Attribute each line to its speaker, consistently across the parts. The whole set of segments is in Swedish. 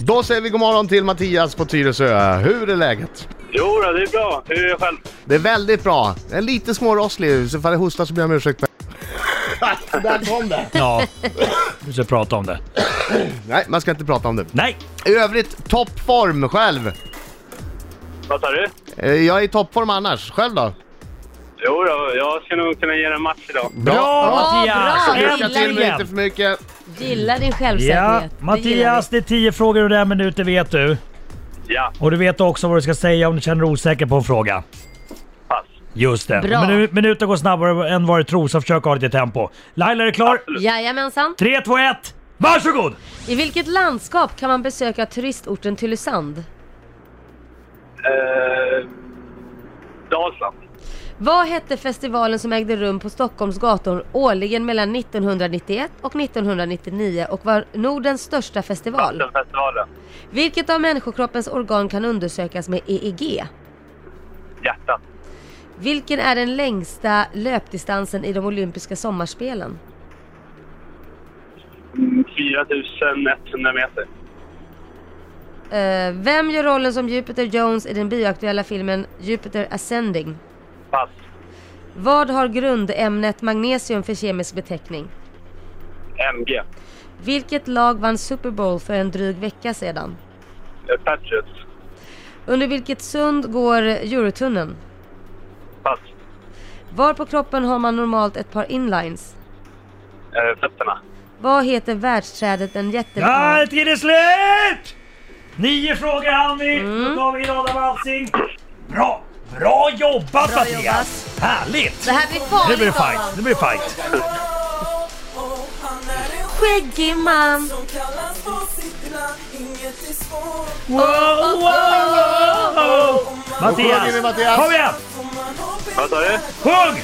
Speaker 1: Då säger vi god morgon till Mattias på Tyresö. Hur är läget?
Speaker 2: Jo, då, det är bra. Hur är jag själv?
Speaker 1: Det är väldigt bra. Jag är lite smårosslig, så ifall jag hostar så ber jag om ursäkt. Där kom det!
Speaker 3: Ja, vi ska prata om det.
Speaker 1: Nej, man ska inte prata om det.
Speaker 3: Nej!
Speaker 1: I övrigt, toppform själv.
Speaker 2: Vad sa du?
Speaker 1: Eh, Jag är i toppform annars. Själv då?
Speaker 2: Jo, då, jag ska nog kunna ge dig en match idag.
Speaker 3: Bra
Speaker 1: Ja,
Speaker 3: Mattias!
Speaker 1: så Lycka
Speaker 3: Äntligen!
Speaker 1: till, men inte för mycket.
Speaker 4: Gillar din
Speaker 3: Ja,
Speaker 4: självsäkerhet. Det gillar
Speaker 3: Mattias,
Speaker 4: vi.
Speaker 3: det är tio frågor och det är en minut, det vet du.
Speaker 2: Ja,
Speaker 3: Och du vet också vad du ska säga om du känner dig osäker på en fråga.
Speaker 2: pass.
Speaker 3: Just det.
Speaker 4: Bra.
Speaker 3: Minu minuten går snabbare än vad du tror, så försök ha lite tempo. Laila, är du klar?
Speaker 4: Jajamensan.
Speaker 3: 3, 2, 1! Varsågod!
Speaker 4: I vilket landskap kan man besöka turistorten Tylösand?
Speaker 2: Eh, Dalsland.
Speaker 4: Vad hette festivalen som ägde rum på Stockholms gator årligen mellan 1991 och 1999 och var Nordens största festival?
Speaker 2: Vattenfestivalen.
Speaker 4: Vilket av människokroppens organ kan undersökas med E EEG?
Speaker 2: Hjärtat.
Speaker 4: Vilken är den längsta löpdistansen i de olympiska sommarspelen?
Speaker 2: Mm, 4100 meter.
Speaker 4: Eh, vem gör rollen som Jupiter Jones i den bioaktuella filmen Jupiter Ascending?
Speaker 2: Pass.
Speaker 4: Vad har grundämnet magnesium för kemisk beteckning?
Speaker 2: MG.
Speaker 4: Vilket lag vann Super Bowl för en dryg vecka sedan?
Speaker 2: Eh, Patriots.
Speaker 4: Under vilket sund går Eurotunneln?
Speaker 2: Pass.
Speaker 4: Var på kroppen har man normalt ett par inlines?
Speaker 2: Eh, fötterna.
Speaker 4: Vad heter världsträdet en
Speaker 3: Ja,
Speaker 4: jättevikt har?
Speaker 3: tiden är slut! Nio frågor hann vi. Då tar vi in Adam Alsing. Bra! Bra jobbat
Speaker 4: Bra
Speaker 3: Mattias! Härligt!
Speaker 4: Det här blir
Speaker 3: Nu blir det
Speaker 4: farligt
Speaker 3: fight,
Speaker 4: Adam!
Speaker 3: nu blir det fight.
Speaker 4: Skäggig man!
Speaker 3: Wow, wow, wow.
Speaker 1: Sjunger vi,
Speaker 3: Mattias,
Speaker 1: Mattias?
Speaker 3: kom igen!
Speaker 2: Vad sa du?
Speaker 3: Sjung!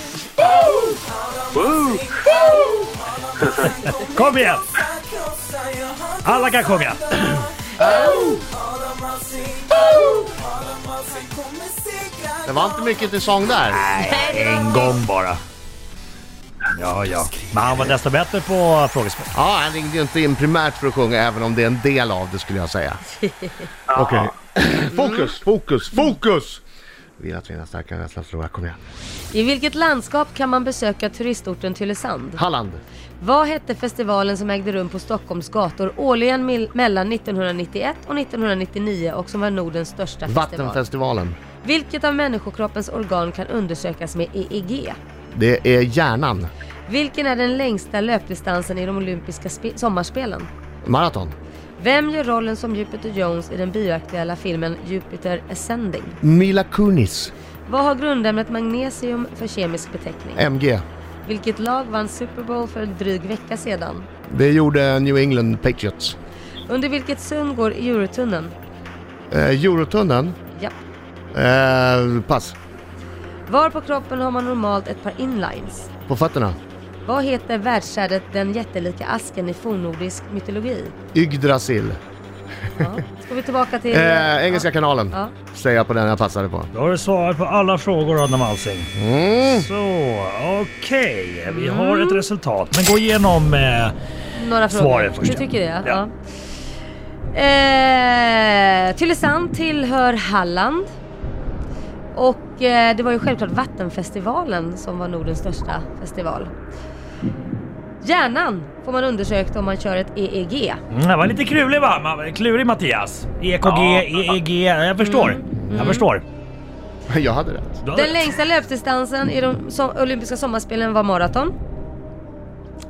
Speaker 2: Woo!
Speaker 3: Kom igen! Alla kan sjunga.
Speaker 1: Det var inte mycket till sång där.
Speaker 3: En gång bara. Ja, ja. Men han var desto bättre på frågespel.
Speaker 1: Ja, han ringde ju inte in primärt för att sjunga, även om det är en del av det skulle jag säga. Okej. Fokus, fokus, fokus! Vill att vinna starkare än rädsla Kom igen.
Speaker 4: I vilket landskap kan man besöka turistorten Tylösand?
Speaker 1: Halland.
Speaker 4: Vad hette festivalen som ägde rum på Stockholms gator årligen mil- mellan 1991 och 1999 och som var Nordens största festival?
Speaker 1: Vattenfestivalen.
Speaker 4: Vilket av människokroppens organ kan undersökas med EEG?
Speaker 1: Det är hjärnan.
Speaker 4: Vilken är den längsta löpdistansen i de olympiska spe- sommarspelen?
Speaker 1: Maraton.
Speaker 4: Vem gör rollen som Jupiter Jones i den bioaktuella filmen Jupiter Ascending?
Speaker 1: Mila Kunis.
Speaker 4: Vad har grundämnet magnesium för kemisk beteckning?
Speaker 1: MG.
Speaker 4: Vilket lag vann Super Bowl för en dryg vecka sedan?
Speaker 1: Det gjorde New England Patriots.
Speaker 4: Under vilket sund går Eurotunneln?
Speaker 1: Eh, Eurotunneln.
Speaker 4: Ja.
Speaker 1: Eh, pass.
Speaker 4: Var på kroppen har man normalt ett par inlines?
Speaker 1: På fötterna.
Speaker 4: Vad heter världsträdet den jättelika asken i fornnordisk mytologi?
Speaker 1: Yggdrasil.
Speaker 4: Ja. Ska vi tillbaka till...
Speaker 1: Eh, Engelska kanalen.
Speaker 4: Ja.
Speaker 1: Säger jag på den jag passade på.
Speaker 3: Då har du svarat på alla frågor Adam Alsing.
Speaker 1: Mm.
Speaker 3: Så, okej. Vi har ett resultat. Men gå igenom... Eh,
Speaker 4: Några frågor.
Speaker 3: Svaren först,
Speaker 4: Du
Speaker 3: ja.
Speaker 4: tycker det?
Speaker 3: Ja.
Speaker 4: Ja. Eh, Tylösand tillhör Halland. Och eh, det var ju självklart Vattenfestivalen som var Nordens största festival. Hjärnan får man undersökt om man kör ett E EEG.
Speaker 3: mm, det var lite klurig va? Man- Klurig Mattias. E EKG,
Speaker 2: Ja.
Speaker 3: EEG. Jag förstår. Jag förstår.
Speaker 1: Jag hade rätt.
Speaker 3: Du har
Speaker 4: Den
Speaker 3: rätt.
Speaker 4: längsta löpdistansen i de so- olympiska sommarspelen var maraton.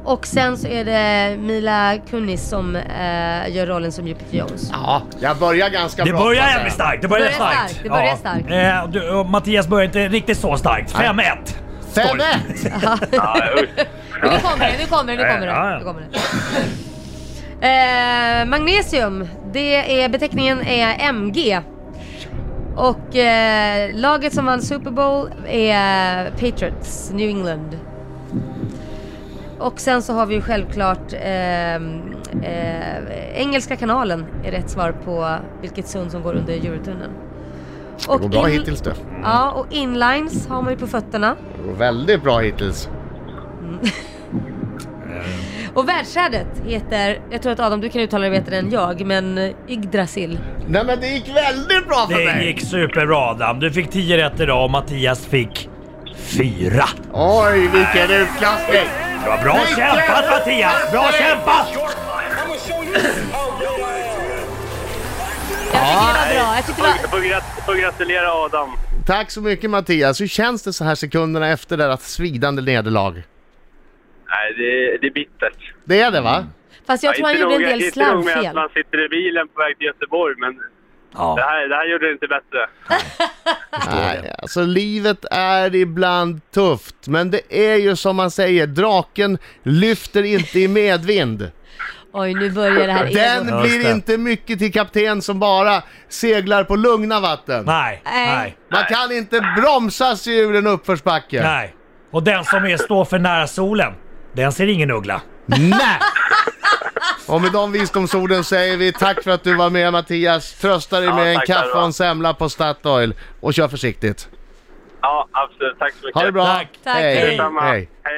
Speaker 4: Och sen så är det Mila Kunis som eh, gör rollen som Jupiter Jones.
Speaker 1: Ja, jag börjar ganska
Speaker 3: Det
Speaker 1: bra.
Speaker 3: börjar
Speaker 1: kan jag
Speaker 3: jävligt
Speaker 1: säga.
Speaker 3: starkt. Det börjar
Speaker 4: Det börjar
Speaker 3: starkt.
Speaker 4: starkt, det börjar
Speaker 3: Ja.
Speaker 4: starkt.
Speaker 3: Eh, du, och Mattias börjar inte riktigt så starkt. 5-1.
Speaker 1: Fem
Speaker 3: Oj.
Speaker 1: rätt!
Speaker 2: Ja, usch.
Speaker 4: Men nu kommer det, nu kommer det, nu kommer
Speaker 3: Ja, ja.
Speaker 4: det. Nu kommer det. Eh, magnesium, det är, beteckningen är MG. Och eh, laget som vann Super Bowl är Patriots, New England. Och sen så har vi ju självklart ehm, eh, Engelska kanalen är rätt svar på vilket sund som går under Eurotunneln.
Speaker 1: Det går bra
Speaker 4: in-
Speaker 1: hittills det.
Speaker 4: Ja, och inlines har man ju på fötterna.
Speaker 1: Det går väldigt bra hittills.
Speaker 4: Och världsträdet heter, jag tror att Adam du kan uttala det bättre
Speaker 2: Mm.
Speaker 4: än jag, men eh, Yggdrasil.
Speaker 1: Nej men det gick väldigt bra för
Speaker 3: Det
Speaker 1: mig!
Speaker 3: gick superbra Adam. Du fick 10 rätt idag och Mattias fick 4.
Speaker 1: Oj, vilken utklassning!
Speaker 3: Det var bra kämpat Mattias! Bra kämpat!
Speaker 4: Jag tycker det var bra. Jag tyckte det var...
Speaker 2: Jag får grat- får gratulera Adam.
Speaker 1: Tack så mycket Mattias. Hur känns det så här sekunderna efter det där svidande nederlag?
Speaker 2: Nej, det, det är bittert.
Speaker 1: Det är det va?
Speaker 4: Fast jag tror han
Speaker 2: inte
Speaker 4: gjorde en
Speaker 2: nog-
Speaker 4: del
Speaker 2: Inte nog med att
Speaker 4: slarvfel.
Speaker 2: man sitter i bilen på väg till Göteborg, men det
Speaker 3: Ja,
Speaker 2: här, det här gjorde det inte bättre.
Speaker 1: Nej, alltså livet är ibland tufft, men det är ju som man säger, draken lyfter inte i medvind.
Speaker 4: Oj, nu börjar det här
Speaker 1: Den
Speaker 4: egot.
Speaker 1: blir
Speaker 3: Just det.
Speaker 1: inte mycket till kapten som bara seglar på lugna vatten.
Speaker 3: nej,
Speaker 4: Nej.
Speaker 3: nej,
Speaker 1: Man kan inte bromsa sig ur en uppförsbacke.
Speaker 3: nej. Och den som är står för nära solen, den ser ingen uggla.
Speaker 1: Nej! Och med de visdomsorden säger vi tack för att du var med Mattias. Trösta dig
Speaker 2: Ja,
Speaker 1: med en
Speaker 2: tack
Speaker 1: kaffe
Speaker 2: själva.
Speaker 1: och en semla på Statoil. Och kör försiktigt.
Speaker 2: Ja, absolut. Tack så mycket.
Speaker 1: Ha det bra!
Speaker 3: Tack.
Speaker 4: Tack,
Speaker 1: Hej!
Speaker 4: hej.
Speaker 2: Detsamma.
Speaker 1: Hej.
Speaker 2: Hej.